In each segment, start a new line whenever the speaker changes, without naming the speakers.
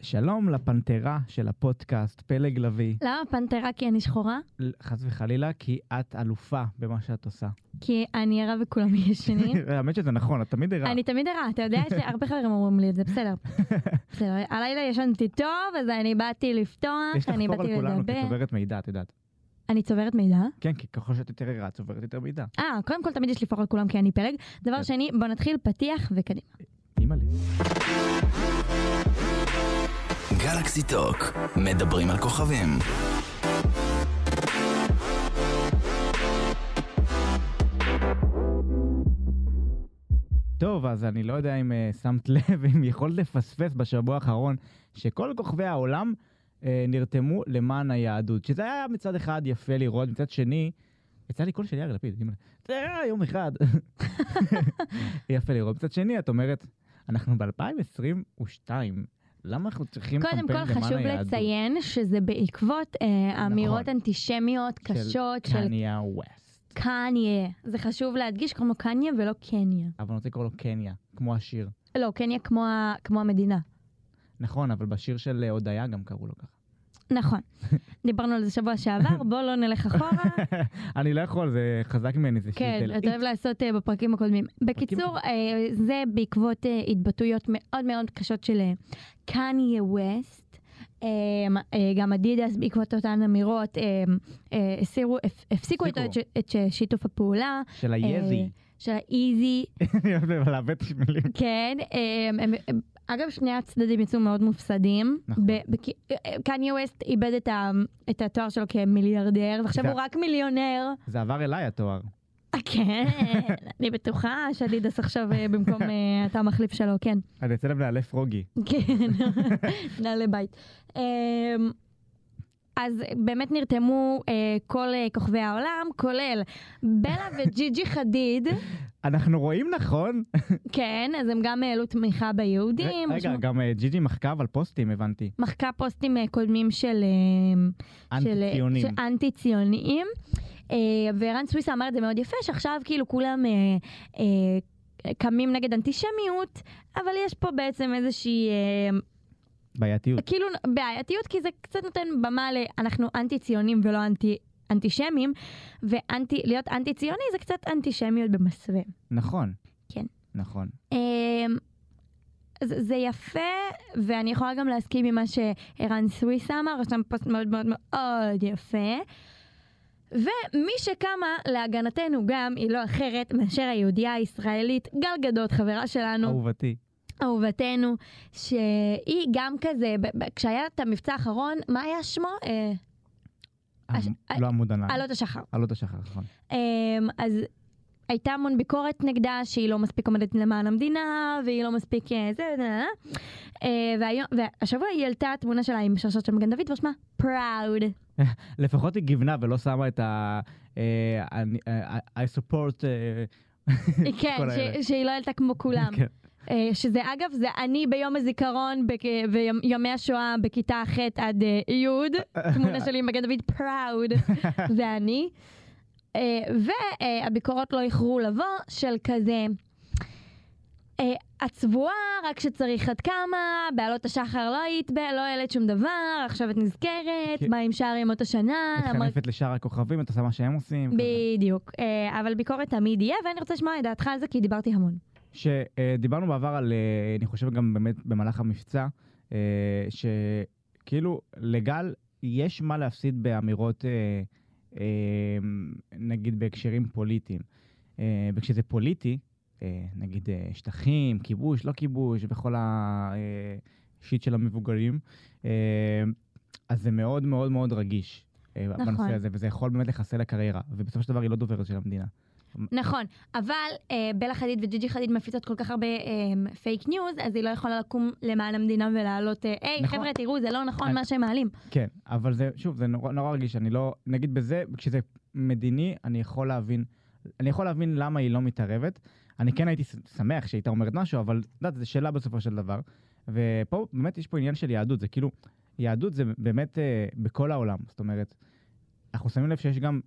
שלום לפנתרה של הפודקאסט, פלג לביא.
למה פנתרה? כי אני שחורה?
חס וחלילה, כי את אלופה במה שאת עושה.
כי אני ערה וכולם ישנים.
האמת שזה נכון, את תמיד ערה.
אני תמיד ערה, אתה יודע, יש לי הרבה חברים אומרים לי את זה, בסדר. בסדר, הלילה ישנתי טוב, אז אני באתי
יש
לפתוח, אני
לחפור
באתי
על כולנו
לדבר.
כצוברת מידע, את יודעת.
אני צוברת מידע.
כן, כי ככל שאת יותר ערה, את צוברת יותר מידע.
אה, קודם כל תמיד יש לפרוק על כולם כי אני פלג.
כן.
דבר שני, בוא נתחיל פתיח וקדימה.
אימא'לה.
גלקסי טוק, מדברים על כוכבים.
טוב, אז אני לא יודע אם אה, שמת לב, אם יכולת לפספס בשבוע האחרון, שכל כוכבי העולם אה, נרתמו למען היהדות. שזה היה מצד אחד יפה לראות, מצד שני, יצא לי קול של יאיר לפיד, אימא'לה. זה היה יום אחד. יפה לראות. מצד שני, את אומרת, אנחנו ב-2022, למה אנחנו צריכים קמפיין
קודם
למען
כל
היהדות? נכון.
חשוב לציין שזה בעקבות אה, אמירות אנטישמיות קשות
של...
של
קניה ווסט.
קניה. זה חשוב להדגיש, קוראים לו קניה ולא קניה.
אבל אני רוצה לקרוא לו קניה, כמו השיר.
לא, קניה כמו ה- כמו המדינה.
נכון, אבל בשיר של אה, הודיה גם קראו לו ככה.
נכון. דיברנו על זה שבוע שעבר, בוא לא נלך אחורה.
אני לא יכול, זה חזק ממני, זה
כן,
שלטל.
אתה אוהב לעשות אה, בפרקים הקודמים. בקיצור, אה, זה בעקבות אה, התבטאויות מאוד מאוד קשות של אה, קניה ווסט. אמ, אה, גם אדידס בעקבות אותן אמירות אה, אה, הסירו, הפ- הפסיקו איתו את
הפסיקו.
ש- את ש- שיתוף הפעולה אה,
של היזי.
של האיזי,
אני אוהב לעוות מילים.
כן, אה, הם- הם- אגב שני הצדדים יצאו מאוד מופסדים,
נכון.
ב- בכ- אה, קניה ווסט איבד את ה- את התואר שלו כמיליארדר ועכשיו
זה-
הוא רק מיליונר.
זה עבר אליי התואר.
אה, כן, אני בטוחה שאדידס עכשיו אה, במקום אה, אתה המחליף שלו, כן.
אני אצא להם לאלף רוגי.
כן, נעלי בית. אמ, אז באמת נרתמו אה, כל אה, כוכבי העולם, כולל בלה וג'יג'י חדיד,
אנחנו רואים נכון?
כן, אז הם גם העלו תמיכה ביהודים.
רגע,
משמע-
גם אה, ג'יג'י מחקה על פוסטים, הבנתי.
מחקה פוסטים אה, קודמים של... אמ, של-
אנטי-ציונים.
של אנטי ציוניים. וערן סוויסה אמר את זה מאוד יפה, שעכשיו כאילו כולם אה, אה, קמים נגד אנטישמיות, אבל יש פה בעצם איזושהי אה,
בעייתיות.
כאילו בעייתיות, כי זה קצת נותן במה ל"אנחנו אנטי ציונים ולא אנטי אנטישמים", ולהיות אנטי ציוני זה קצת אנטישמיות במסווה.
נכון.
כן.
נכון.
אה, זה זה יפה, ואני יכולה גם להסכים עם מה שערן סוויסה אמר, יש שם פוסט מאוד מאוד מאוד יפה. ומי שקמה להגנתנו גם היא לא אחרת מאשר היהודייה הישראלית גל גדות, חברה שלנו,
אהובתי.
אהובתנו, שהיא גם כזה, ב- ב- כשהיה את המבצע האחרון, מה היה שמו? אה, הש-
המ- לא עמוד ענן.
עלות השחר.
עלות השחר, נכון.
אמ, אז הייתה המון ביקורת נגדה שהיא לא מספיק עומדת למען המדינה והיא לא מספיק אה, זה נה, נה, נה. אה, והיום והשבוע היא העלתה תמונה שלה עם שרשרת של מגן דוד ושמה פראוד
לפחות היא גיוונה ולא שמה את ה... אה, אני- אה, I support... אה,
כן
כל
ש-
האלה.
שהיא לא העלתה כמו כולם
כן.
אה, שזה אגב זה אני ביום הזיכרון בכ- ויומי השואה בכיתה ח' עד אה, י' תמונה שלי עם מגן דוד פראוד זה אני אה, והביקורות לא איחרו לבוא של כזה. אה, את צבועה, רק שצריך עד כמה, בעלות השחר לא היית, בה, לא העלית שום דבר, עכשיו את נזכרת,
כן.
מה עם שאר ימות השנה, למה-
מתחנפת לשאר הכוכבים, את עושה מה שהם עושים. כזה.
בדיוק, אה, אבל ביקורת תמיד יהיה, ואני רוצה לשמוע את דעתך על זה, כי דיברתי המון.
שדיברנו בעבר על, אה, אני חושב גם באמת במהלך המבצע, אה, שכאילו לגל יש מה להפסיד באמירות, אה, אה, נגיד בהקשרים פוליטיים. אה, וכשזה פוליטי, אה, נגיד אה, שטחים, כיבוש, לא כיבוש, וכל השיט של המבוגרים, אה, אז זה מאוד מאוד מאוד רגיש. אה,
נכון.
בנושא הזה, וזה יכול באמת לחסל לקריירה, ובסופו של דבר היא לא דוברת של המדינה.
נכון, אבל אה, בלה חדיד וג'יג'י חדיד מפיצות כל כך הרבה אה, פייק ניוז, אז היא לא יכולה לקום למען המדינה ולהעלות, אה, היי
נכון.
חבר'ה תראו זה לא נכון
אני-
מה שהם מעלים.
כן, אבל זה, שוב, זה נורא, נורא רגיש, אני לא, נגיד בזה, כשזה מדיני, אני יכול להבין, אני יכול להבין למה היא לא מתערבת. אני כן הייתי ש- שמח שהיא הייתה אומרת משהו, אבל את יודעת, זו שאלה בסופו של דבר. ופה באמת יש פה עניין של יהדות, זה כאילו, יהדות זה באמת אה, בכל העולם, זאת אומרת, אנחנו שמים לב שיש גם,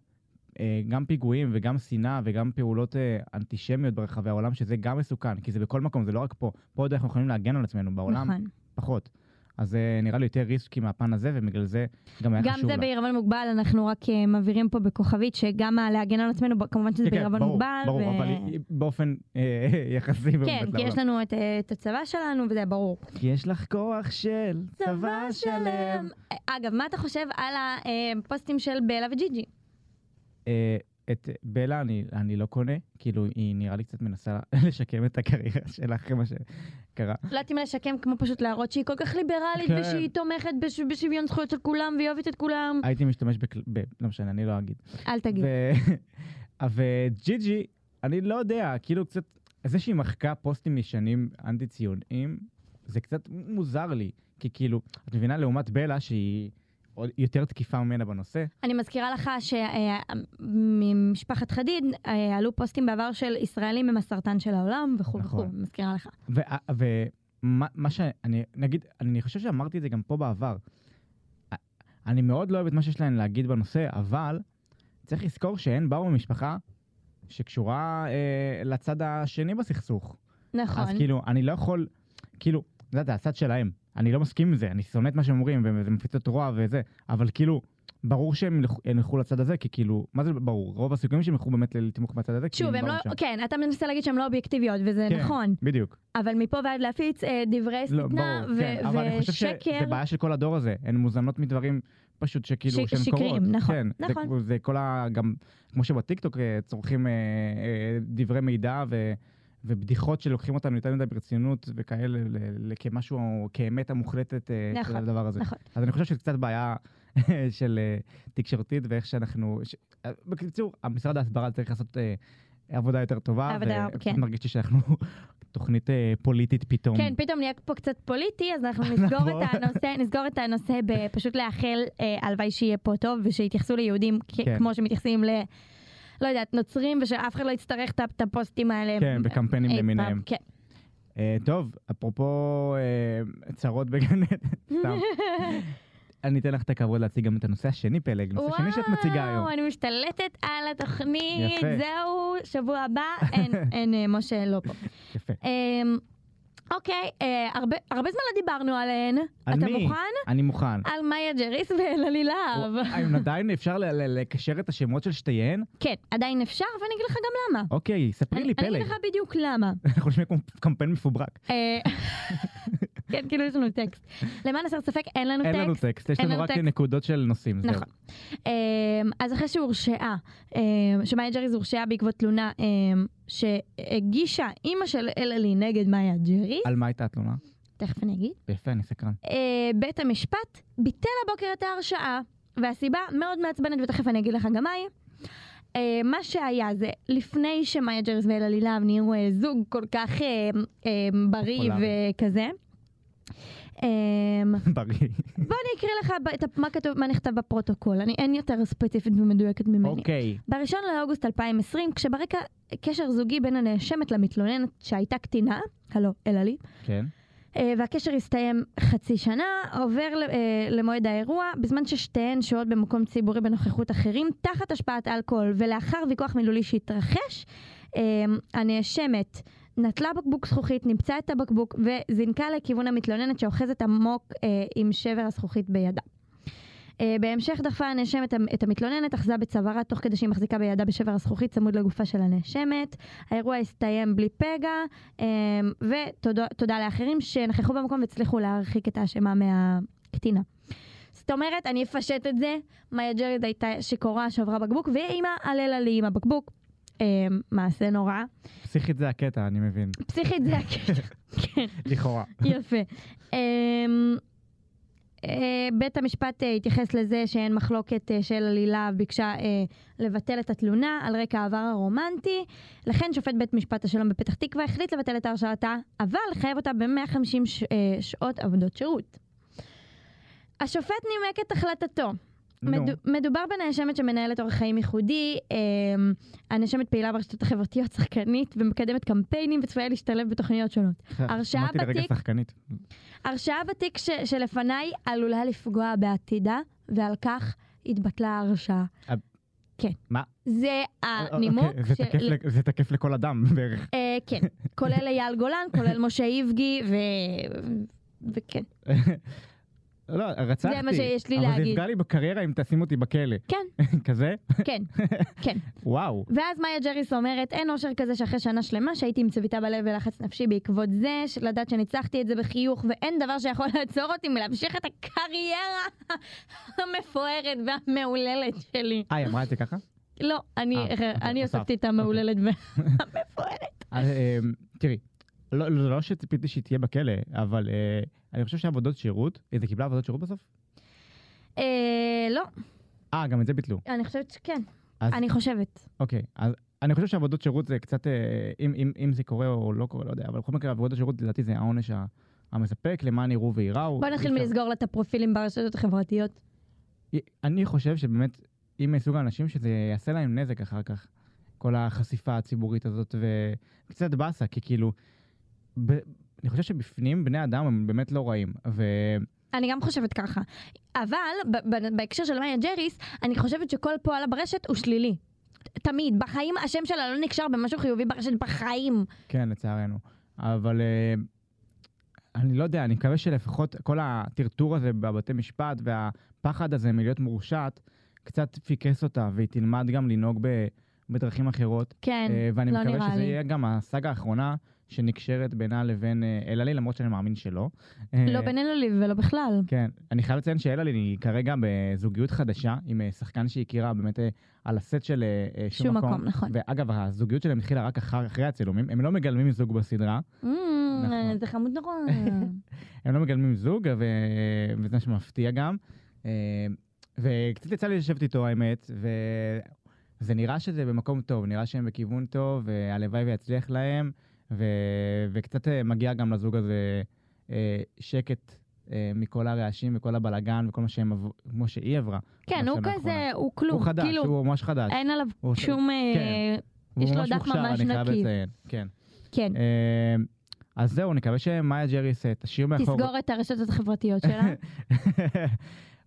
אה, גם פיגועים וגם שנאה וגם פעולות אה, אנטישמיות ברחבי העולם, שזה גם מסוכן, כי זה בכל מקום, זה לא רק פה. פה עוד אנחנו יכולים להגן על עצמנו, בעולם
נכון.
פחות. אז זה נראה לי יותר ריסקי מהפן הזה, ובגלל זה גם היה
גם
חשוב
זה
לה.
בעירבון מוגבל, אנחנו רק אה, מבהירים פה בכוכבית, שגם ה- להגן על עצמנו, ב- כמובן שזה
כן, כן,
בעירבון
ברור,
מוגבל.
ברור,
ו-
אבל היא- באופן אה, יחסי.
כן,
באמת לא-
כי
לעולם.
יש לנו את, אה, את הצבא שלנו, וזה ברור.
כי יש לך כוח של צבא שלם.
אה, אגב, מה אתה חושב על הפוסטים של בלה וג'יג'י?
אה, את בלה אני, אני לא קונה, כאילו היא נראה לי קצת מנסה לשקם את הקריירה שלה אחרי מה שקרה.
לא יודעת אם לשקם כמו פשוט להראות שהיא כל כך ליברלית,
כן.
ושהיא תומכת בש- בשוויון זכויות של כולם, והיא אוהבת את כולם.
הייתי משתמש בכל... ב... לא משנה, אני לא אגיד.
אל תגיד.
ו- וג'יג'י, אני לא יודע, כאילו קצת, זה שהיא מחקה פוסטים ישנים אנטי-ציוניים, זה קצת מוזר לי, כי כאילו, את מבינה, לעומת בלה שהיא עוד יותר תקיפה ממנה בנושא,
אני מזכירה לך שממשפחת חדיד אה, עלו פוסטים בעבר של ישראלים הם הסרטן של העולם וכו' וכו',
נכון.
מזכירה לך.
ו- ומה מה שאני, נגיד, אני חושב שאמרתי את זה גם פה בעבר. אני מאוד לא אוהב את מה שיש להן להגיד בנושא, אבל צריך לזכור שהן באו ממשפחה שקשורה אה, לצד השני בסכסוך.
נכון.
אז כאילו, אני לא יכול, כאילו, זה יודע, הצד שלהם. אני לא מסכים עם זה, אני שונא את מה שהם אומרים, וזה מפיצות רוע וזה, אבל כאילו, ברור שהם ילכו- הם ילכו לצד הזה, כי כאילו, מה זה ברור? רוב הסיכויים שהם ילכו באמת לתמוך מהצד הזה, כי
שוב, הם
באו
לא,
משם.
כן, אתה מנסה להגיד שהן לא אובייקטיביות, וזה
כן,
נכון,
בדיוק.
אבל מפה ועד להפיץ אה, דברי
לא,
שטנה
ברור, כן, אבל אני חושב שזה
ושקר.
בעיה של כל הדור הזה, הן מוזנות מדברים פשוט שכאילו,
ש-
שהן
שקריים,
קורות.
נכון,
כן, זה-
נכון.
זה כל ה... גם, כמו שבטיקטוק אה, צורכים אה, אה, דברי מידע ו... ובדיחות שלוקחים אותנו יותר מדי ברצינות וכאלה, ל- ל- כמשהו, כאמת המוחלטת אה, של
נכון,
הדבר הזה.
נכון.
אז אני חושב שזה קצת בעיה של אה, תקשורתית ואיך שאנחנו... ש- אה, בקיצור, המשרד ההסברה צריך לעשות אה, עבודה יותר טובה.
עבודה,
ופשוט
כן.
מרגיש לי שאנחנו תוכנית אה, פוליטית פתאום.
כן, פתאום נהיה פה קצת פוליטי, אז אנחנו נסגור
נכון.
את הנושא, נסגור את הנושא בפשוט לאחל, אה, הלוואי שיהיה פה טוב, ושיתייחסו ליהודים כ-
כן.
כמו שמתייחסים ל... לא יודעת, נוצרים, ושאף אחד לא יצטרך את ה- את הפוסטים האלה.
כן, וקמפיינים
אי פעם.
למיניהם.
כן.
אה, טוב, אפרופו אה, צרות בגן עדן, סתם. אני אתן לך את הכבוד להציג גם את הנושא השני, פלג, נושא שני שאת מציגה היום.
וואו, אני משתלטת על התוכנית,
יפה.
זהו, שבוע הבא, אין, אין, אה, משה לא פה.
יפה.
אמ, אוקיי, אה, הרבה- הרבה זמן לא דיברנו עליהן.
על
אתה
מי?
מוכן?
אני מוכן. אה,
על מאיה ג'ריס ואלעלי להב.
אם עדיין אפשר ל- ל- לקשר את השמות של שתיהן?
כן, עדיין אפשר, ואני אגיד לך גם למה.
אוקיי, ספרי
אני-
לי,
אני
פלג.
אגיד לך בדיוק למה.
אנחנו נשמע כמו קמפיין מפוברק.
אה, כן, כאילו יש לנו טקסט. למען הסר ספק, אין לנו
אין לנו
טקסט.
טקסט, יש
אין
לנו
לנו
רק
טקסט.
נקודות של נושאים. זהו.
נכון. אמ, אז אחרי שהורשעה, אמ, שמאיה ג'ריס הורשעה בעקבות תלונה אמ, שהגישה אימא של אלעלי נגד מאיה ג'ריס,
על מה הייתה התלונה?
תכף אני אגיד,
יפה, אני סקרן.
אה, בית המשפט ביטל הבוקר את ההרשעה, והסיבה מאוד מעצבנת, ותכף אני אגיד לך גם מה היא. אה, מה שהיה זה, לפני שמאיה ג'ריס ואלעלי להב נהיו אה, זוג כל כך אה, אה, בריא
פופולרי.
וכזה, אה,
בריא.
בוא אני אקריא לך ב- את ה- מה כתוב, מה נכתב בפרוטוקול, אני אין יותר ספציפית ומדויקת ממני.
אוקיי.
ב-1 לאוגוסט 2020, כשברקע קשר זוגי בין הנאשמת למתלוננת שהייתה קטינה, הלו, אלא לי,
כן.
אה, והקשר הסתיים חצי שנה, עובר ל- אה, למועד האירוע, בזמן ששתיהן שוהות במקום ציבורי בנוכחות אחרים, תחת השפעת אלכוהול, ולאחר ויכוח מילולי שהתרחש, אה, הנאשמת נטלה בקבוק זכוכית, נמצאה את הבקבוק, וזינקה לכיוון המתלוננת שאוחזת עמוק אה, עם שבר הזכוכית בידה. אה, בהמשך דחפה הנאשמת את המתלוננת, אחזה בצווארה תוך כדי שהיא מחזיקה בידה בשבר הזכוכית צמוד לגופה של הנאשמת. האירוע הסתיים בלי פגע, אה, ותודה תודה לאחרים שנכחו במקום והצליחו להרחיק את האשמה מהקטינה. זאת אומרת, אני אפשט את זה, מאיה ג'רד הייתה שיכורה, שברה בקבוק, ואימא עללה לי עם הבקבוק. אה, מעשה נורא.
פסיכית זה הקטע, אני מבין.
פסיכית זה הקשר. כן.
לכאורה.
יפה. אמ, אה, בית המשפט אה, התייחס לזה שאין מחלוקת אה, של עלילה ביקשה אה, לבטל את התלונה על רקע העבר הרומנטי. לכן שופט בית משפט השלום בפתח תקווה החליט לבטל את הרשעתה, אבל לחייב אותה ב-150 ש- אה, שעות עבודות שירות. השופט נימק את החלטתו.
נו.
מדו- מדובר בנאשמת שמנהלת אורח חיים ייחודי, אמ, הנאשמת פעילה ברשתות החברתיות, שחקנית ומקדמת קמפיינים וצפויה להשתלב בתוכניות שונות. הרשעה
אמרתי לרגע
בתיק.
שחקנית.
הרשעה בתיק ש- שלפניי עלולה לפגוע בעתידה, ועל כך התבטלה ההרשעה.
אה,
כן.
מה? אה,
זה הנימוק.
אוקיי, זה
אה, ש-
תקף ל- זה תקף לכל אדם בערך.
אה, כן, כולל אייל גולן, כולל משה איבגי ו- וכן.
לא, רצחתי.
זה מה שיש לי
אבל זה
להגיד.
יפגע לי בקריירה אם תשים אותי בכלא.
כן,
כזה?
כן, כן.
וואו.
ואז מאיה ג'ריס אומרת, אין אושר כזה שאחרי שנה שלמה שהייתי עם צביטה בלב ולחץ נפשי בעקבות זה, של לדעת שניצחתי את זה בחיוך, ואין דבר שיכול לעצור אותי מלהמשיך את הקריירה המפוארת והמהוללת שלי.
אה, היא אמרה את זה ככה?
לא, אני,
אה, אוקיי,
אני
הוספת.
הוספתי את המהוללת והמפוארת.
אז, אמ, תראי, לא, לא, לא שציפיתי שהיא תהיה בכלא, אבל אה, אני חושב שעבודות שירות, היא קיבלה עבודות שירות בסוף? אוקיי.
אה, לא,
אה, גם את זה ביטלו.
אני חושבת שכן.
אז-
אני חושבת.
אוקיי, אז אני חושב שעבודות שירות זה קצת, אה, אם, אם, אם זה קורה או לא קורה, לא יודע, אבל בכל מקרה עבודות שירות לדעתי זה העונש ה- המספק למען יראו וייראו.
בוא נתחיל
אי אפשר-
מלסגור לה את הפרופילים ברשתות החברתיות.
אני חושב שבאמת, אם מסוג האנשים שזה יעשה להם נזק אחר כך, כל החשיפה הציבורית הזאת, וקצת באסה, כי כאילו, ב... אני חושב שבפנים בני אדם הם באמת לא רעים, ואני
אני גם חושבת ככה. אבל ב- ב- בהקשר של מאיה ג'ריס, אני חושבת שכל פועלה ברשת הוא שלילי. ת- תמיד. בחיים השם שלה לא נקשר במשהו חיובי ברשת, בחיים.
כן, לצערנו. אבל אה, אני לא יודע, אני מקווה שלפחות כל הטרטור הזה בבתי משפט והפחד הזה מלהיות מורשעת, קצת פיקס אותה, והיא תלמד גם לנהוג ב... בדרכים אחרות,
כן,
אה, ואני
לא
מקווה
נראה
שזה
לי.
יהיה גם הסאגה האחרונה שנקשרת בינה לבין אה, אלעלי, למרות שאני מאמין שלא.
לא
אה,
בינינו לי ולא בכלל.
כן, אני חייב לציין שאלעלי היא כרגע בזוגיות חדשה עם אה, שחקן שהיא הכירה באמת אה, על הסט של אה, אה,
שום מקום, נכון.
ואגב, הזוגיות שלהם התחילה רק אחר, אחרי הצילומים, הם לא מגלמים זוג בסדרה,
Mm,
נכון.
זה חמוד נורא.
הם לא מגלמים זוג, ו... וזה משהו מפתיע גם. אה, וקצת יצא לי לשבת איתו, האמת, וזה נראה שזה במקום טוב, נראה שהם בכיוון טוב, והלוואי ויצליח להם, ו... וקצת אה, מגיע גם לזוג הזה אה, שקט. אה, מכל הרעשים וכל הבלגן וכל מה שהם עברו, כמו שהיא עברה.
כן, הוא
בשנה האחרונה.
כזה, הוא כלום.
הוא חדש,
כאילו,
הוא ממש חדש.
אין עליו
הוא עושה-
שום... אה,
כן. הוא
יש לו
ממש
דף
מוכשר,
ממש
אני חייב
נקי.
לציין, כן.
כן.
אה, אז זהו, נקווה שמאיה ג'ריס אה, תשאיר מאחור...
תסגור את הרשתות החברתיות שלה.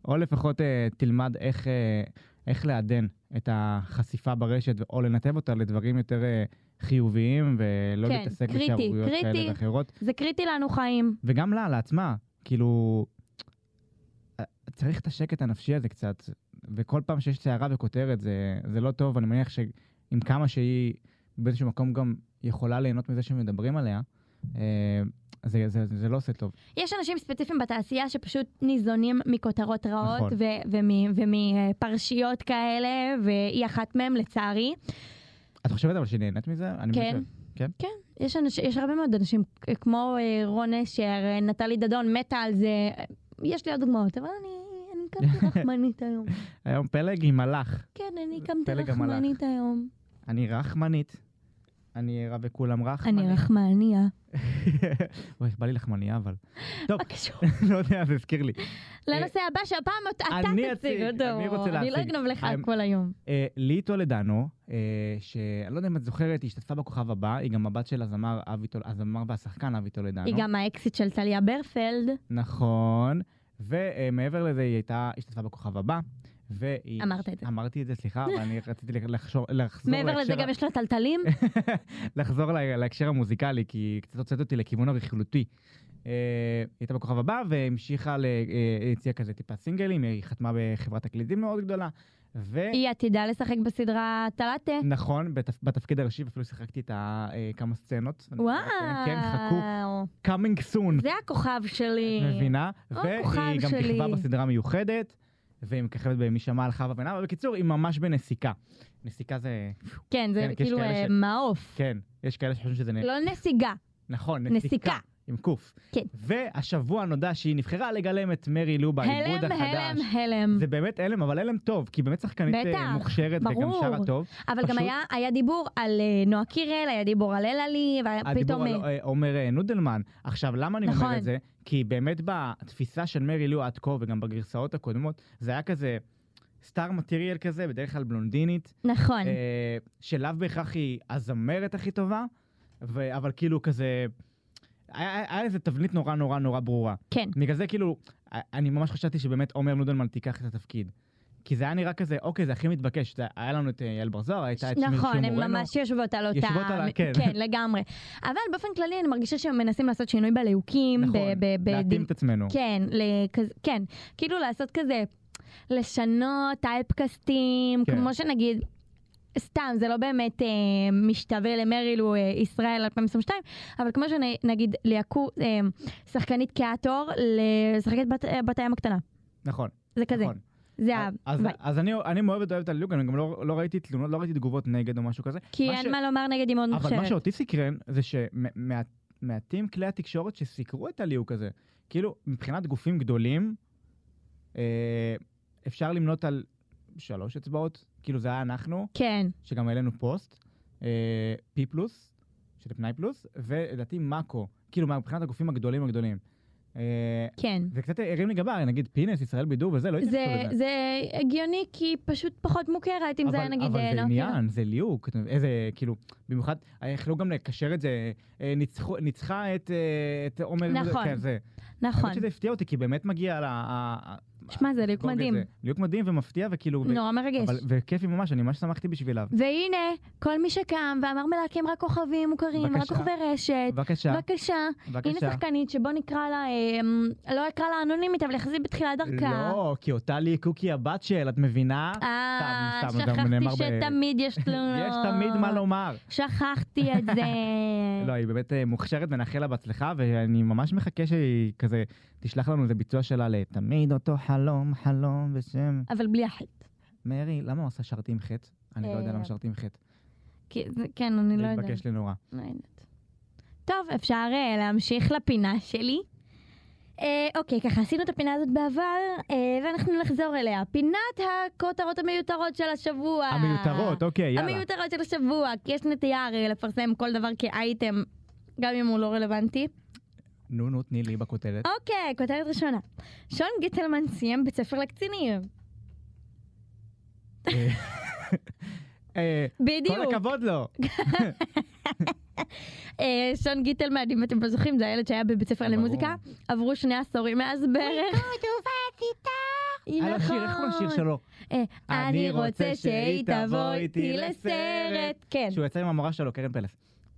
או לפחות אה, תלמד איך, אה, איך לעדן את החשיפה ברשת, או לנתב אותה לדברים יותר אה, חיוביים, ולא
כן,
להתעסק
קריטי,
בשערוריות כאלה
קריטי.
ואחרות.
זה קריטי לנו חיים.
וגם לה, לעצמה, כאילו, אה, צריך את השקט הנפשי הזה קצת, וכל פעם שיש סערה וכותרת זה, זה לא טוב, אני מניח שעם כמה שהיא באיזשהו מקום גם יכולה ליהנות מזה שמדברים עליה, אה, זה, זה, זה, זה לא עושה טוב.
יש אנשים ספציפיים בתעשייה שפשוט ניזונים מכותרות רעות
נכון.
ומפרשיות כאלה, והיא אחת מהם לצערי.
את חושבת אבל שהיא נהנית מזה? אני מבין
כן.
ש- כן?
יש, אנש, יש הרבה מאוד אנשים, אה, כמו אה, רון אשר, אה, נטלי דדון, מתה על זה. אה, יש לי עוד דוגמאות, אבל אני, אני קמתי רחמנית היום.
היום פלג היא מלאך.
כן, אני קמתי
פלג המלאך.
רחמנית היום.
אני רחמנית. אני רע וכולם רחמנית.
אני רחמניה.
אוי, בא לי לחמניה אבל. טוב,
מה קשור?
לא יודע, זה הזכיר לי.
לנושא הבא, שהפעם אתה
אני
תציג
אציג,
אותו.
אני רוצה
אני לא
להציג.
אגנוב לך
I'm-
כל היום.
אה, לי טולדנו, אה, שאני לא יודע אם את זוכרת, היא השתתפה בכוכב הבא, היא גם הבת של הזמר אבי טול- הזמר והשחקן אבי טולדנו.
היא גם האקסיט של טליה ברפלד,
נכון. ומעבר לזה, היא הייתה, השתתפה בכוכב הבא. והיא...
אמרת את זה.
אמרתי את זה, סליחה, אבל אני רציתי לחשור, לחזור
מעבר לזה
להקשר ה-
גם יש לה טלטלים.
לחזור לה- להקשר המוזיקלי, כי קצת הוצאת אותי לכיוון הרכילותי. אה, היא הייתה בכוכב הבא והמשיכה, ל- אה, היא הציעה כזה טיפה סינגלים, היא חתמה בחברת תקליטים מאוד גדולה. ו...
היא עתידה לשחק בסדרה טלטה.
נכון, בתפ... בתפקיד הראשי אפילו שיחקתי את ה... אה, כמה סצנות. אני
וואו.
חייב לציין, כן, חכו, coming soon,
זה הכוכב שלי.
את מבינה?
או,
והיא
כוכב
גם
שלי.
כיכבה בסדרה מיוחדת, והיא מככבת במי שמע על חווה ונאווה. בקיצור, היא ממש בנסיקה. נסיקה זה...
כן, זה
כן, יש
כאילו
כאלה
אה,
ש-
מעוף.
כן, אה, יש כאלה שחושבים שזה... נ-
לא נסיגה,
נכון,
נסיקה.
עם קוף.
כן.
והשבוע נודע שהיא נבחרה לגלם את מרי לו בעיבוד
הלם,
החדש.
הלם, הלם.
זה באמת הלם, אבל הלם טוב, כי היא באמת שחקנית אה,
בטח,
מוכשרת וגם
ברור. אה,
שרה טוב.
אבל
פשוט-
גם היה- היה דיבור על אה, נועה קירל, היה דיבור על אלעלי, והיה
הדיבור
פתאום...
על
אה,
אה, עומר אה, נודלמן. עכשיו, למה אני
נכון.
אומר את זה? כי באמת בתפיסה של מרי לו עד כה, וגם בגרסאות הקודמות, זה היה כזה סטאר מטריאל כזה, בדרך כלל בלונדינית,
נכון.
אה, שלאו בהכרח היא הזמרת הכי טובה, ו- אבל כאילו כזה... היה היה- היה איזה תבנית נורא נורא נורא ברורה.
כן.
בגלל זה כאילו, א- אני ממש חשבתי שבאמת עומר נודלמן תיקח את התפקיד. כי זה היה נראה כזה, אוקיי, זה הכי מתבקש. זה- היה לנו את אה, יעל בר זוהר, הייתה את שמיר שהוא
נכון, הן
מורנו.
ממש יושבות על אותה...
יושבות על ה- כן.
כן, לגמרי. אבל באופן כללי אני מרגישה שהם מנסים לעשות שינוי בליהוקים.
נכון,
ב- ב- ב-
להתאים את עצמנו.
כן, לכז... כן, כאילו לעשות כזה, לשנות טייפקסטים,
כן.
כן. כמו שנגיד, סתם, זה לא באמת אה, משתווה למריל הוא אה, ישראל 2022, אבל כמו שנגיד ליהקו אה, שחקנית קיאטור לשחקנית בת, אה, בת הים הקטנה.
נכון.
זה כזה,
נכון.
זה ה...
אז-
ביי.
אז אני- אני מאוד אוהב את הלוק, אני גם לא לא ראיתי תלונות, לא ראיתי תגובות נגד או משהו כזה.
כי
מה
אין
ש-
מה לומר נגד היא מאוד
אבל מה
מוכשרת.
שאותי סקרן זה שמעטים כלי התקשורת שסיקרו את הליהוק הזה. כאילו, מבחינת גופים גדולים, אה, אפשר למנות על שלוש אצבעות, כאילו זה היה אנחנו,
כן,
שגם העלינו פוסט, אה, פי פלוס, שזה פנאי פלוס, ולדעתי מאקו, כאילו מה- מבחינת הגופים הגדולים הגדולים. אה,
כן.
זה קצת הרים לי גבר, נגיד פינס, ישראל בידור וזה, לא התייחסו
זה,
לזה.
זה הגיוני כי היא פשוט פחות מוכרת, אם זה היה
אבל-
נגיד...
אבל
אה,
זה
נועה קירל.
עניין, זה ליהוק, אתה- איזה, כאילו, במיוחד, אה, יכלו גם לקשר את זה, אה, ניצחו- ניצחה את אה, את עומר,
נכון,
כן, זה.
נכון.
האמת שזה הפתיע אותי, כי באמת מגיע ל... ה- ה-
שמע, זה ליהוק
הגוג
מדהים.
הזה. ליהוק מדהים ומפתיע, וכאילו, ו-
נורא מרגש.
אבל- וכיפי ממש, אני ממש שמחתי בשבילם.
והנה, כל מי שקם ואמר מלהקים רק כוכבים מוכרים, רק
בבקשה.
כוכבי רשת.
בבקשה,
בבקשה, לא, הנה
בבקשה.
שחקנית שבוא נקרא לה, אה, אמ, לא אקרא לה אנונימית, אבל יחסית בתחילת דרכה.
לא, כי אותה ליקוק היא הבת של, את מבינה?
אה,
סתם, סתם, זה גם
שכחתי
נאמר ב-
שתמיד יש תלונות.
יש תמיד מה לומר.
שכחתי את זה.
לא, היא באמת אה, מוכשרת ונאחל לה בהצלחה, ואני ממש מחכה שהיא כזה תשלח לנו איזה ביצוע שלה לתמיד אותו חלום, חלום בשם
אבל בלי החטא.
מרי, למה הוא עשה שרתי עם חטא? אני לא יודע
אה,
למה שרתי עם חטא.
כי זה- כן, אני לא יודעת.
להתבקש לי נורא.
לא יודעת. טוב, אפשר אה, להמשיך לפינה שלי. אה, אוקיי, ככה עשינו את הפינה הזאת בעבר, אה, ואנחנו נחזור אליה. פינת הכותרות המיותרות של השבוע.
המיותרות, אוקיי, יאללה.
המיותרות של השבוע, כי יש נטייה הרי לפרסם כל דבר כאייטם, גם אם הוא לא רלוונטי.
נו, נו, תני לי בכותרת.
אוקיי, כותרת ראשונה. שון גיטלמן סיים בית ספר לקצינים.
אה, אה,
בדיוק.
כל הכבוד לו.
אה, שון גיטלמן, אם אתם לא זוכרים, זה הילד שהיה בבית ספר
אה, ברור.
למוזיקה. עברו שני עשורים מאז בערך.
על השיר, אה, לא, איך הוא השיר שלו?
אה, אני רוצה שהיא תבוא איתי לסרט. כן,
שהוא יצא עם המורה שלו, קרן פלס.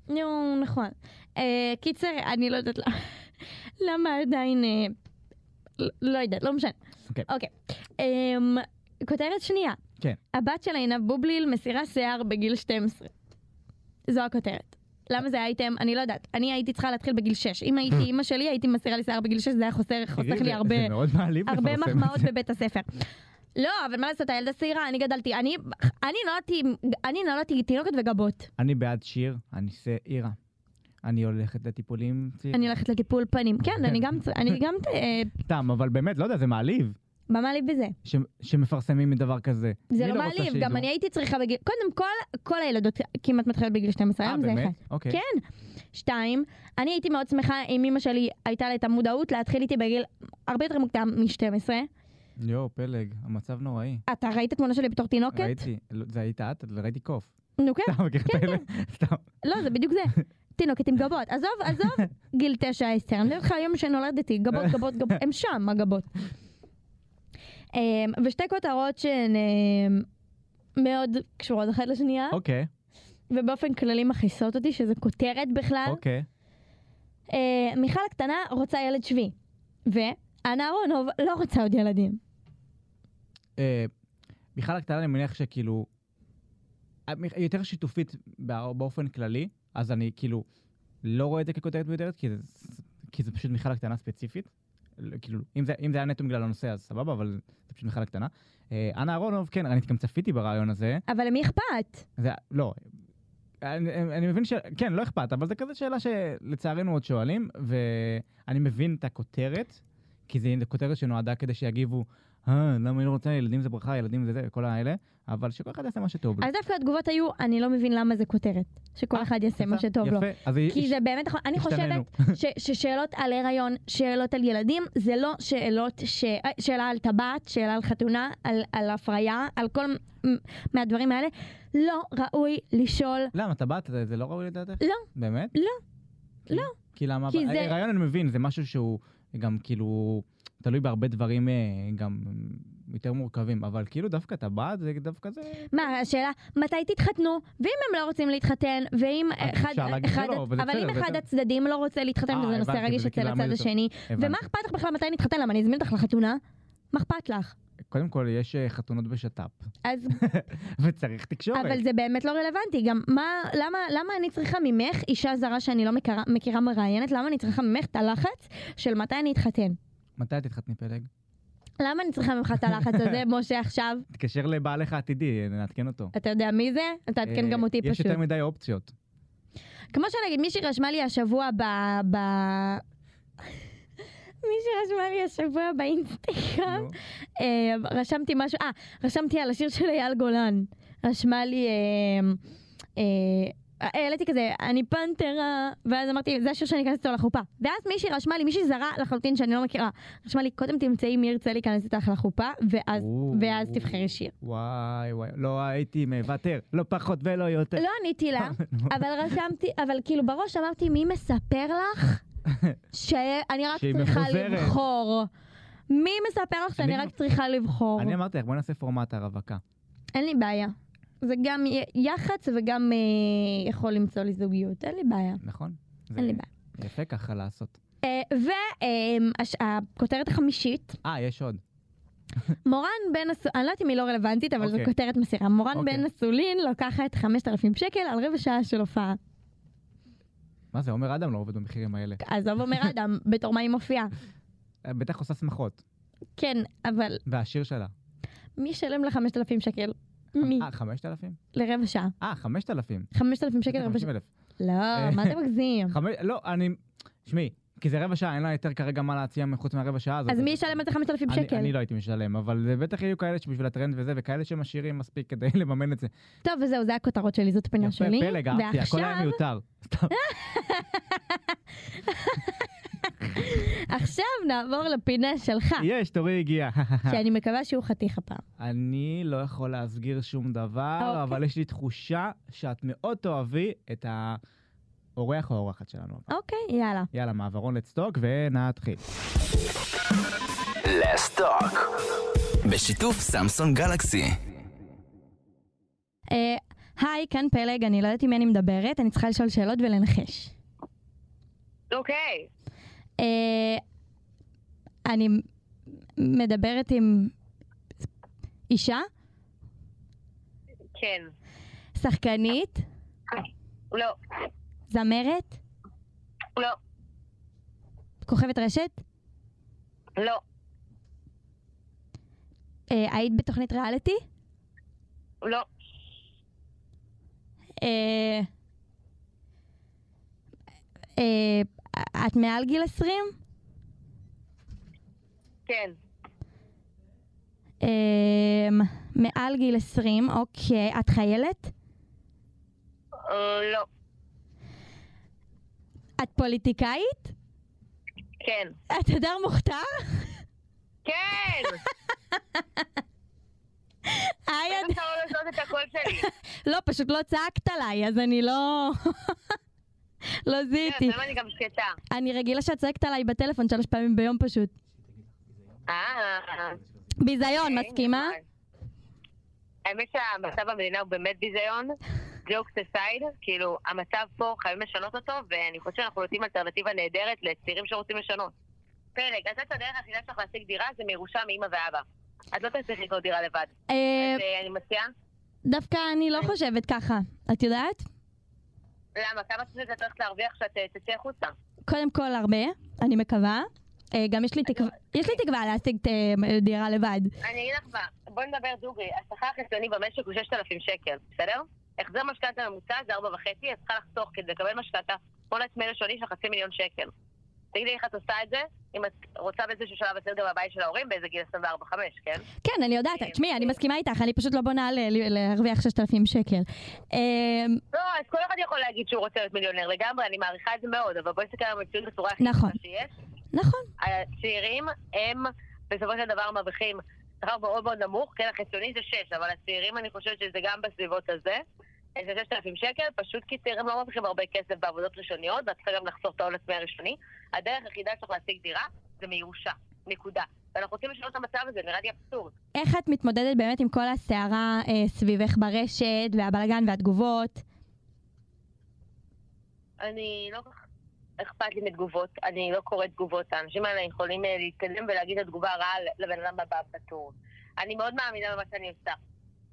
נו, נכון. אה, קיצר, אני לא יודעת למה- למה עדיין... אה, לא- לא יודעת, לא משנה.
אוקיי.
אוקיי. אמ, כותרת שנייה.
כן.
הבת של עינב בובליל מסירה שיער בגיל 12. זו הכותרת. למה זה הייתם? אני לא יודעת. אני הייתי צריכה להתחיל בגיל 6. אם הייתי אימא שלי, הייתי מסירה לי שיער בגיל 6, זה היה חוסר, חוסך
תראי,
לי
זה-
הרבה...
זה מאוד מעליב
הרבה
לפרסם את
מחמאות
זה.
בבית הספר. לא, אבל מה לעשות, הילדה צעירה, אני גדלתי, אני, אני נולדתי, אני נולדתי תינוקת וגבות.
אני בעד שיר, אני שעירה. אני הולכת לטיפולים צעירים.
אני הולכת לטיפול פנים. כן, אני גם, צ- אני גם, אה,
סתם, אבל באמת, לא יודע, זה מעליב
מה מעליב בזה?
ש- שמפרסמים מדבר כזה.
זה
מי
לא
רוצה
מעליב,
שידעו?
גם אני הייתי צריכה בגיל, קודם כל, כל הילדות כמעט מתחילות בגיל 12,
אה,
היום זה אחד.
באמת? אוקיי.
כן. שתיים, אני הייתי מאוד שמחה אם אמא שלי הייתה לה את המודעות להתחיל איתי בגיל הרבה יותר מוקדם מ-12.
יואו, פלג, המצב נוראי.
אתה ראית תמונה שלי בתור תינוקת?
ראיתי, לא, זה היית את? ראיתי קוף.
נו אוקיי. כן.
סתם, מכיר את
כן,
האלה? סתם.
לא, זה בדיוק זה. תינוקת עם גבות. עזוב, עזוב, גיל תשע, עשר. אני מדברת לך על יום שנולדתי, גבות, גבות, גבות. הם שם, הגבות. אמ, ושתי כותרות שהן אמ, מאוד קשורות אחת לשנייה,
אוקיי,
ובאופן כללי מכעיסות אותי, שזו כותרת בכלל.
אוקיי.
אה, מיכל הקטנה רוצה ילד שביעי, ואנה אהרונוב לא רוצה עוד ילדים.
אה, מיכל הקטנה, אני מניח שכאילו... אה, מיכ- היא יותר שיתופית בא- באופן כללי, אז אני כאילו לא רואה את זה ככותרת מיותרת, כי זה- כי זה פשוט מיכל הקטנה ספציפית. לא, כאילו, אם זה, אם זה היה נטו בגלל הנושא, אז סבבה, אבל זה פשוט מיכל הקטנה. אה, אנה אהרונוב, כן, אני גם צפיתי ברעיון הזה.
אבל למי אכפת?
זה, לא, אני, אני מבין ש... כן, לא אכפת, אבל זה כזה שאלה שלצערנו עוד שואלים, ואני מבין את הכותרת, כי זו כותרת שנועדה כדי שיגיבו, אה, למה היא לא רוצה, ילדים זה ברכה, ילדים זה זה, כל האלה, אבל שכל אחד יעשה מה שטוב לו.
אז דווקא התגובות היו, אני לא מבין למה זה כותרת, שכל
אה,
אחד יעשה מה
יפה,
שטוב לו.
יפה, אז היא-
כי זה באמת נכון, אני
השתננו.
חושבת ש, ששאלות על הריון, שאלות על ילדים, זה לא שאלות, ש, אה, שאלה על טבעת, שאלה על חתונה, על, על הפריה, על כל מ- מהדברים האלה, לא ראוי לשאול,
למה, טבעת זה, זה לא ראוי לדעתך?
לא.
באמת?
לא.
כי-
לא.
כי למה?
כי זה-
הרעיון אני מבין, זה משהו שהוא גם כאילו תלוי בהרבה דברים, אה, גם יותר מורכבים, אבל כאילו דווקא טבעת זה דווקא זה...
מה, השאלה, מתי תתחתנו? ואם הם לא רוצים להתחתן, ואם
אז
אחד...
אפשר להגיד
אחד
שלא, וזה
אבל
בסדר,
אם
וזה-
אחד הצדדים לא רוצה להתחתן,
אה,
וזה נושא
הבנתי,
רגיש
וזה
אצל
כאילו
הצד
למה יותר-
השני,
הבנתי.
ומה אכפת לך בכלל מתי נתחתן? למה אני אזמין אותך לחתונה? מה אכפת לך?
קודם כל, יש אה, חתונות בשת"פ,
אז,
וצריך תקשורת.
אבל זה באמת לא רלוונטי, גם מה, למה, למה אני צריכה ממך, אישה זרה שאני לא מכירה, מכירה מראיינת, למה אני צריכה ממך את הלחץ של מתי אני אתחתן?
מתי תתחתני פלג?
למה אני צריכה ממך את הלחץ הזה, משה, עכשיו?
תתקשר לבעלך העתידי, אה, נעדכן אותו.
אתה יודע מי זה? אתה תעדכן
אה,
גם אותי
יש
פשוט.
יותר מדי אופציות.
כמו שנגיד, מישהי רשמה לי השבוע ב... ב... מישהי רשמה לי השבוע באינסטגרם,
נו.
אה, רשמתי משהו, אה, רשמתי על השיר של אייל גולן. רשמה לי, אה, אה, העליתי כזה, אני פנתרה, ואז אמרתי, זה השיר שאני אכנס איתו לחופה. ואז מישהי רשמה לי, מישהי זרה לחלוטין שאני לא מכירה, רשמה לי, קודם תמצאי מי ירצה להיכנס איתך לחופה, ואז,
או.
ואז תבחרי שיר.
וואי וואי, לא הייתי מוותר, לא פחות ולא יותר.
לא עניתי לה, אבל רשמתי, אבל כאילו בראש אמרתי, מי מספר לך שאני רק
שהיא
צריכה
מפוזרת.
לבחור? מי מספר לך שאני
אני-
רק צריכה לבחור?
אני אמרתי לך, בוא נעשה פורמט הרווקה.
אין לי בעיה. זה גם י- יח"צ וגם אה, יכול למצוא לי זוגיות, אין לי בעיה. אה,
נכון? זה
אין לי בעיה.
יפה ככה לעשות.
והכותרת אה, החמישית,
אה, יש עוד.
מורן בן אסולין, אני לא יודעת אם היא לא רלוונטית, אבל זו
אוקיי.
כותרת מסירה. מורן
אוקיי.
בן אסולין לוקחת 5,000 שקל על רבע שעה של הופעה.
מה זה, עומר אדם לא עובד במחירים האלה.
עזוב אומר אדם, בתור מה היא מופיעה.
אה, בטח עושה שמחות.
כן, אבל
והשיר שלה.
מי ישלם לה 5,000 שקל? מי?
אה, 5,000?
לרבע שעה.
אה, 5,000.
5,000 שקל רבע שעה.
50,000.
לא, מה אתה מגזים?
חמש- לא, אני... שמעי, כי זה רבע שעה, אין לה יותר כרגע מה להציע מחוץ מהרבע שעה הזאת.
אז מי ישלם על זה 5,000
אני-
שקל?
אני לא הייתי משלם, אבל זה בטח יהיו כאלה שבשביל הטרנד וזה, וכאלה שמשאירים מספיק כדי לממן את זה.
טוב, וזהו, זה הכותרות שלי, זאת הפינה
יפה,
שלי.
פלג, אהבתי, הכל היה
ועכשיו,
מיותר. סתם.
עכשיו נעבור לפינה שלך,
יש, תורי הגיע.
שאני מקווה שהוא חתיך הפעם.
אני לא יכול להסגיר שום
אוקיי.
דבר, אבל יש לי תחושה שאת מאוד תאהבי את האורח או האורחת שלנו.
אוקיי, יאללה.
יאללה, מעברון לצטוק ונתחיל.
לסטוק. בשיתוף סמסון גלקסי.
אה, היי, כאן פלג, אני לא יודעת עם מי אני מדברת, אני צריכה לשאול שאלות ולנחש.
אוקיי,
אה, אני מדברת עם אישה,
כן.
שחקנית,
לא,
זמרת,
לא,
כוכבת רשת,
לא,
אה, היית בתוכנית ריאליטי?
לא,
אה, אה, את מעל גיל 20?
כן,
אה, מעל גיל 20, אוקיי. את חיילת?
אה, לא,
את פוליטיקאית?
כן,
את אדר מוכתר?
כן!
היי,
איך
אד-
אפשר לא לעשות את הקול שלי?
לא, פשוט לא צעקת עליי, אז אני לא... לא זיהיתי.
למה אני גם שקטה?
אני רגילה שאת צועקת עליי בטלפון שלוש פעמים ביום פשוט.
אה,
ביזיון,
אוקיי,
לא, מסכימה?
נחמד. האמת שהמצב במדינה הוא באמת ביזיון. ג'וקס אסייד, כאילו, המצב פה, חייבים לשנות אותו, ואני חושבת שאנחנו נותנים אלטרנטיבה נהדרת לצעירים שרוצים לשנות. פלג, אז את הדרך היחידה שלך להשיג דירה זה מירושה מאמא ואבא. את לא תצליחי לקנות דירה לבד.
אה,
אז אה, אני מציעה...
דווקא אני לא חושבת ככה. את יודעת?
למה? כמה זמן את הולכת להרוויח כשאת אה, תצאי החוצה?
קודם כל הרבה, אני מקווה. אה, גם יש לי תקווה, יש לי תקווה להשיג אה, דירה לבד.
אני אגיד לך מה, בואי נדבר דוגרי. השכר החציוני במשק הוא 6,000 שקל, בסדר? החזר משכנתה ממוצע זה 4.5, את צריכה לחסוך כדי לקבל משכנתה הון עצמי ראשוני של חצי מיליון שקל. תגידי איך את עושה את זה, אם את רוצה באיזשהו שלב לצאת גם מהבית של ההורים, באיזה גיל 24-5, כן?
כן, אני יודעת, תשמעי, אני מסכימה איתך, אני פשוט לא בונה ל- ל- להרוויח 6,000 שקל. אה,
לא, אז כל אחד יכול להגיד שהוא רוצה להיות מיליונר לגמרי, אני מעריכה את זה מאוד, אבל בואי נסתכל על המציאות בצורה הכי
נכון.
פשוטה שיש.
נכון,
הצעירים הם בסופו של דבר מרוויחים שכר מאוד מאוד נמוך, כן, החציוני זה 6, אבל הצעירים אני חושבת שזה גם בסביבות הזה. זה 6,000 שקל, פשוט כי צעירים לא מרוויחים הרבה כסף בעבודות ראשוניות, ואת צריכה גם לחסוך את ההון עצמי הראשוני. הדרך היחידה שלך להשיג דירה זה מירושה, נקודה. ואנחנו רוצים לשנות את המצב הזה, זה נראה לי אבסורד.
איך את מתמודדת באמת עם כל הסערה אה, סביבך ברשת, והבלגן והתגובות?
אני לא כל כך אכפת לי מתגובות, אני לא קוראת תגובות. האנשים האלה יכולים אה, להתקדם ולהגיד את התגובה הרעה לבן אדם הבא בתור. אני מאוד מאמינה במה שאני עושה.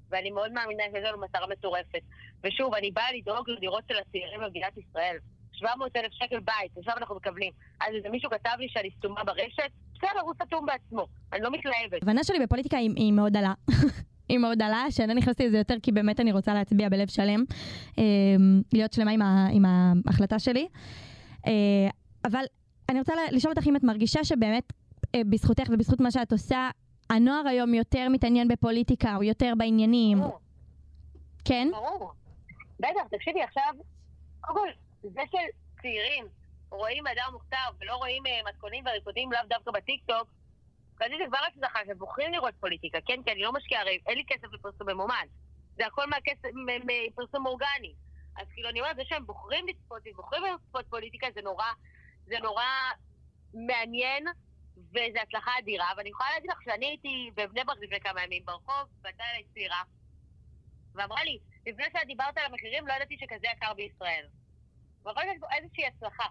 ואני מאוד מאמינה שיש לנו מטרה מטורפת. ושוב, אני באה לדאוג לדירות של הצעירים במדינת ישראל. 700 אלף שקל בית, עכשיו אנחנו מקבלים. אז איזה מישהו כתב לי שאני סתומה ברשת? בסדר, הוא סתום בעצמו. אני לא מתלהבת.
ההבנה שלי בפוליטיקה היא, היא מאוד דלה. היא מאוד דלה, שאני נכנסתי לזה יותר כי באמת אני רוצה להצביע בלב שלם, אה, להיות שלמה עם, ה, עם ההחלטה שלי. אה, אבל אני רוצה ל- לשאול אותך אם את מרגישה שבאמת אה, בזכותך ובזכות מה שאת עושה, הנוער היום יותר מתעניין בפוליטיקה, הוא יותר בעניינים,
ברור,
כן?
ברור. בטח, תקשיבי עכשיו, קודם כל, זה של צעירים רואים אדם מוכתר ולא רואים אה, מתכונים וריקודים לאו דווקא בטיקטוק, רציתי כבר הצלחה, שבוחרים לראות פוליטיקה, כן? כי אני לא משקיעה, הרי אין לי כסף לפרסום ממומן. זה הכל מהכסף, מ- מפרסום אורגני. אז כאילו, אני אומרת, זה שהם בוחרים לצפות, ובוחרים לצפות פוליטיקה, זה נורא, זה נורא מעניין, וזו הצלחה אדירה. ואני יכולה להגיד לך שאני הייתי בבני ברק לפני כמה ימים ברחוב, ועלתה אליי צעירה, ואמרה לי, לפני שאת דיברת על המחירים, לא ידעתי שכזה יקר בישראל. ויכול להיות שיש פה איזושהי הצלחה.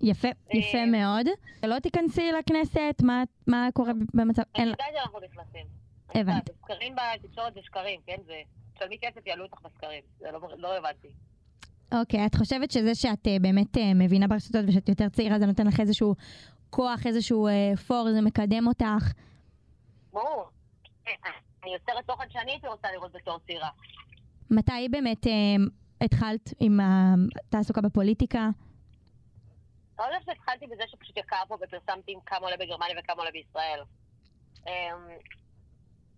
יפה, יפה
אה,
מאוד. לא תיכנסי לכנסת, מה, מה קורה במצב...
אני
אין,
יודעת שאנחנו נכנסים.
הבנתי.
הבנתי. סקרים בתקשורת זה שקרים, כן? זה... תשלמי כסף, יעלו אותך בסקרים. זה לא, לא הבנתי.
אוקיי, את חושבת שזה שאת אה, באמת אה, מבינה ברשתות ושאת יותר צעירה, זה נותן לך איזשהו כוח, איזשהו אה, פור, זה מקדם אותך?
ברור. אה, אני יוצרת תוכן שאני הייתי רוצה לראות בתור צעירה.
מתי באמת אה, התחלת עם התעסוקה בפוליטיקה?
לא יודעת שהתחלתי בזה שפשוט יקר פה ופרסמתי עם כמה עולה בגרמניה וכמה עולה בישראל. אמ,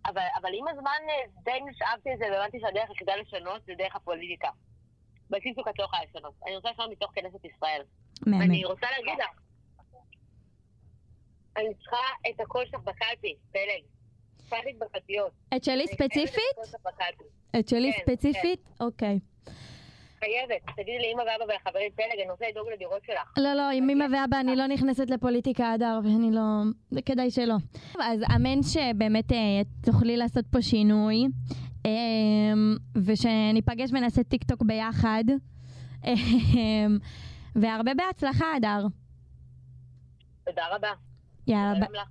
אבל, אבל עם הזמן אה, די נשאבתי את זה והבנתי שהדרך היחידה לשנות זה דרך הפוליטיקה. בסיסוק את לא יכולה לשנות. אני רוצה לשנות מתוך כנסת ישראל.
מהמם.
אני רוצה להגיד לך. אני צריכה את הקול שלך בקלפי, פלג. פלג בקלפיות.
את שלי
אני חייבת את
ספציפית?
הקול שלך בקלפי.
את שלי
כן,
ספציפית? אוקיי.
חייבת. תגידי לאמא ואבא ולחברים פלג, אני רוצה לדאוג לדירות שלך.
לא, לא, עם אמא ואבא אני לא נכנסת לפוליטיקה אדר, ואני לא... זה כדאי שלא. אז אמן שבאמת אה, תוכלי לעשות פה שינוי, אה, ושניפגש ונעשה טיק טוק ביחד, אה, והרבה בהצלחה אדר.
תודה רבה.
יאללה,
תודה
ב-
גם לך.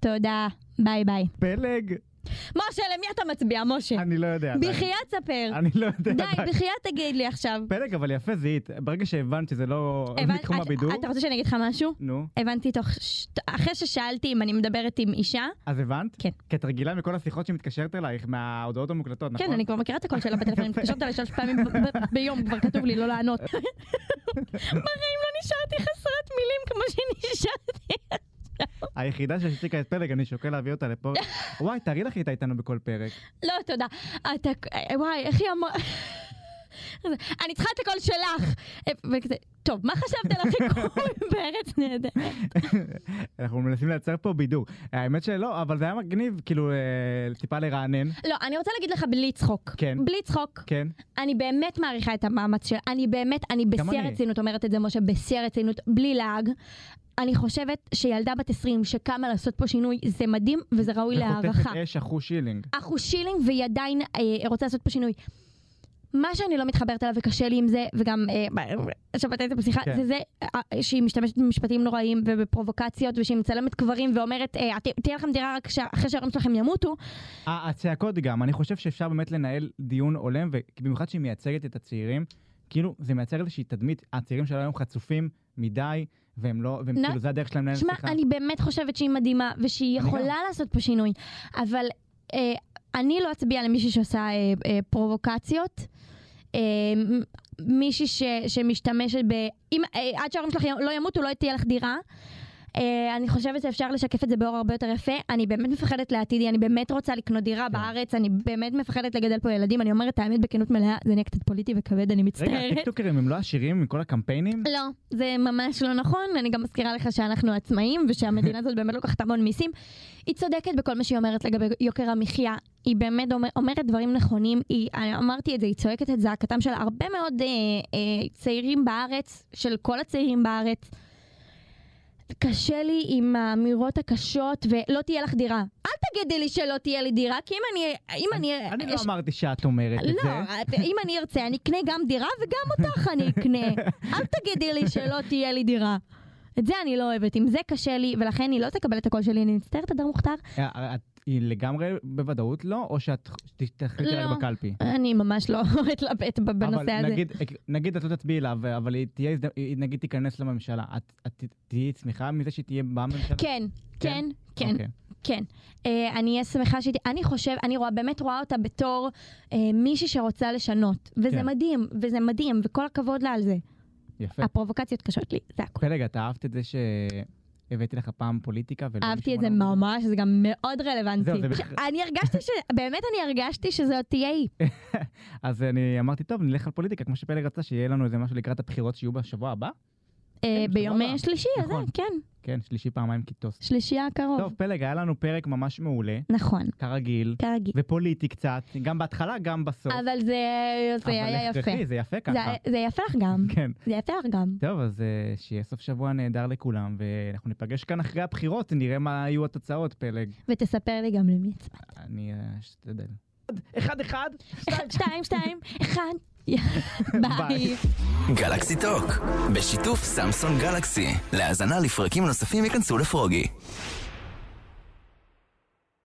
תודה, ביי ביי.
פלג?
משה, למי אתה מצביע, משה?
אני לא יודע. עדיין.
בחייאת ספר.
אני לא יודע.
כן. די,
עדיין.
בחייאת תגיד לי עכשיו.
פלג, אבל יפה זיהית. ברגע שהבנת שזה לא
הבנת-
מתחום
את-
הבידור,
אה, אתה רוצה שאני אגיד לך משהו?
נו,
הבנתי תוך... ש- אחרי ששאלתי אם אני מדברת עם אישה,
אז הבנת?
כן.
כי את רגילה מכל השיחות שמתקשרת אלייך, מההודעות המוקלטות, נכון?
כן, אני כבר מכירה את הקול שלה בטלפון, אני מתקשרת אליי שלוש פעמים ב- ב- ביום, כבר כתוב לי לא לענות. בחיים לא נשארתי חסרת מילים כמו שנשארתי.
היחידה שהשתיקה את פלג, אני שוקל להביא אותה לפה. וואי, תארי לך איתה איתנו בכל פרק.
לא, תודה. אתה... וואי, איך היא אמרה... אני צריכה את הקול שלך. וכזה, טוב, מה חשבת על החיקוי בארץ נהדרת?
אנחנו מנסים לייצר פה בידור. האמת שלא, אבל זה היה מגניב, כאילו, אה, טיפה לרענן.
לא, אני רוצה להגיד לך בלי צחוק.
כן.
בלי צחוק.
כן.
אני באמת מעריכה את המאמץ שלה, אני באמת, אני
גם
בשיא
אני.
הרצינות אומרת את זה, משה, בשיא הרצינות, בלי לעג. אני חושבת שילדה בת 20 שקמה לעשות פה שינוי, זה מדהים וזה ראוי להערכה.
וחוטפת אש אחו שילינג.
אחו שילינג והיא עדיין אה, רוצה לעשות פה שינוי. מה שאני לא מתחברת אליו וקשה לי עם זה, וגם אה, שמעת את זה בשיחה,
כן.
זה זה אה, שהיא משתמשת במשפטים נוראים ובפרובוקציות, ושהיא מצלמת קברים ואומרת, אה, "ת- תהיה לכם דירה רק כשה- אחרי שההורים שלכם ימותו,
ה- הצעקות גם, אני חושב שאפשר באמת לנהל דיון הולם, ובמיוחד שהיא מייצגת את הצעירים, כאילו, זה מייצר איזושהי תדמית, הצעירים של היום חצופים מדי, והם לא, והם
נא-
כאילו, זה הדרך שלהם לנהל
שמע,
שיחה.
אני באמת חושבת שהיא מדהימה, ושהיא
אני
יכולה לעשות פה שינוי, אבל אה, אני לא אצביע למישהי שעושה אה, אה, פרובוקציות. אה, מ- מישהי ש, שמשתמשת ב... אם, אה, עד שההורים שלך י- לא ימותו, לא תהיה לך דירה. אה, אני חושבת שאפשר לשקף את זה באור הרבה יותר יפה. אני באמת מפחדת לעתידי, אני באמת רוצה לקנות
כן.
דירה בארץ, אני באמת מפחדת לגדל פה ילדים. אני אומרת את האמת בכנות מלאה, זה נהיה קצת פוליטי וכבד, אני מצטערת.
רגע, הטיקטוקרים הם לא עשירים מכל הקמפיינים?
לא, זה ממש לא נכון, אני גם מזכירה לך שאנחנו עצמאים ושהמדינה הזאת באמת לוקחת המון מיסים. היא צודקת בכל מה שהיא אומרת לגבי יוקר המחיה, היא באמת אומר, אומרת דברים נכונים, היא, אני אמרתי את זה, היא צועקת את זעקתם של הרבה מאוד אה, אה, צעירים בארץ, של כל הצעירים בארץ. קשה לי עם האמירות הקשות, ולא תהיה לך דירה. אל תגידי לי שלא תהיה לי דירה, כי אם אני... אם אני...
אני לא
אש-
אמרתי שאת אומרת את
לא,
זה.
אם אני ארצה, אני אקנה גם דירה וגם אותך אני אקנה. אל תגידי לי שלא תהיה לי דירה. את זה אני לא אוהבת, עם זה קשה לי, ולכן היא לא תקבל את הקול שלי, אני מצטערת, הדר מוכתר.
אה, את היא לגמרי בוודאות לא, או שאת תחליטי
לא.
רגע בקלפי?
אני ממש לא אתלבט ב- בנושא
אבל
הזה.
נגיד, נגיד את לא תצביעי לה, ו- אבל היא תהיה, הזד- היא נגיד תיכנס לממשלה, את, את ת- תהיי שמחה מזה שהיא תהיה בממשלה?
כן, כן, כן,
אוקיי.
כן. אה, אני אהיה שמחה שהיא... אני חושב, אני רואה, באמת רואה אותה בתור אה, מישהי שרוצה לשנות. וזה
כן.
מדהים, וזה מדהים, וכל הכבוד לה על זה.
יפה.
הפרובוקציות קשות לי, זה הכול.
אוקיי, רגע, אתה אהבת את זה שהבאתי לך פעם פוליטיקה? ולא
אהבתי
מישהו
את זה
אמר לך?
ממש, זה גם מאוד רלוונטי.
לא זהו, זה בכ- כן,
אני הרגשתי ש... באמת אני הרגשתי שזו תהיה היא.
אז אני אמרתי, טוב, נלך על פוליטיקה, כמו שפלג רצה, שיהיה לנו איזה משהו לקראת הבחירות שיהיו בשבוע הבא?
אה,
בשבוע הבא.
ביום שלישי, אז
נכון.
זה, כן.
כן, שלישי פעמיים קיטוס.
שלישי הקרוב.
טוב, פלג, היה לנו פרק ממש מעולה,
נכון,
כרגיל,
כרגיל.
ופוליטי קצת, גם בהתחלה, גם בסוף.
אבל זה זה
אבל
היה יפה.
הכרחי, זה יפה
זה-
ככה.
זה יפה לך גם.
כן.
זה יפה לך גם.
טוב, אז אה, שיהיה סוף שבוע נהדר לכולם, ואנחנו ניפגש כאן אחרי הבחירות, נראה מה יהיו התוצאות, פלג.
ותספר לי גם למי הצבעת.
אני אה, אשתדל. אחד אחד,
אחד, שתיים, שתיים, אחד. ביי.
ביי.
גלקסי טוק, בשיתוף סמסון גלקסי. להאזנה לפרקים נוספים ייכנסו לפרוגי.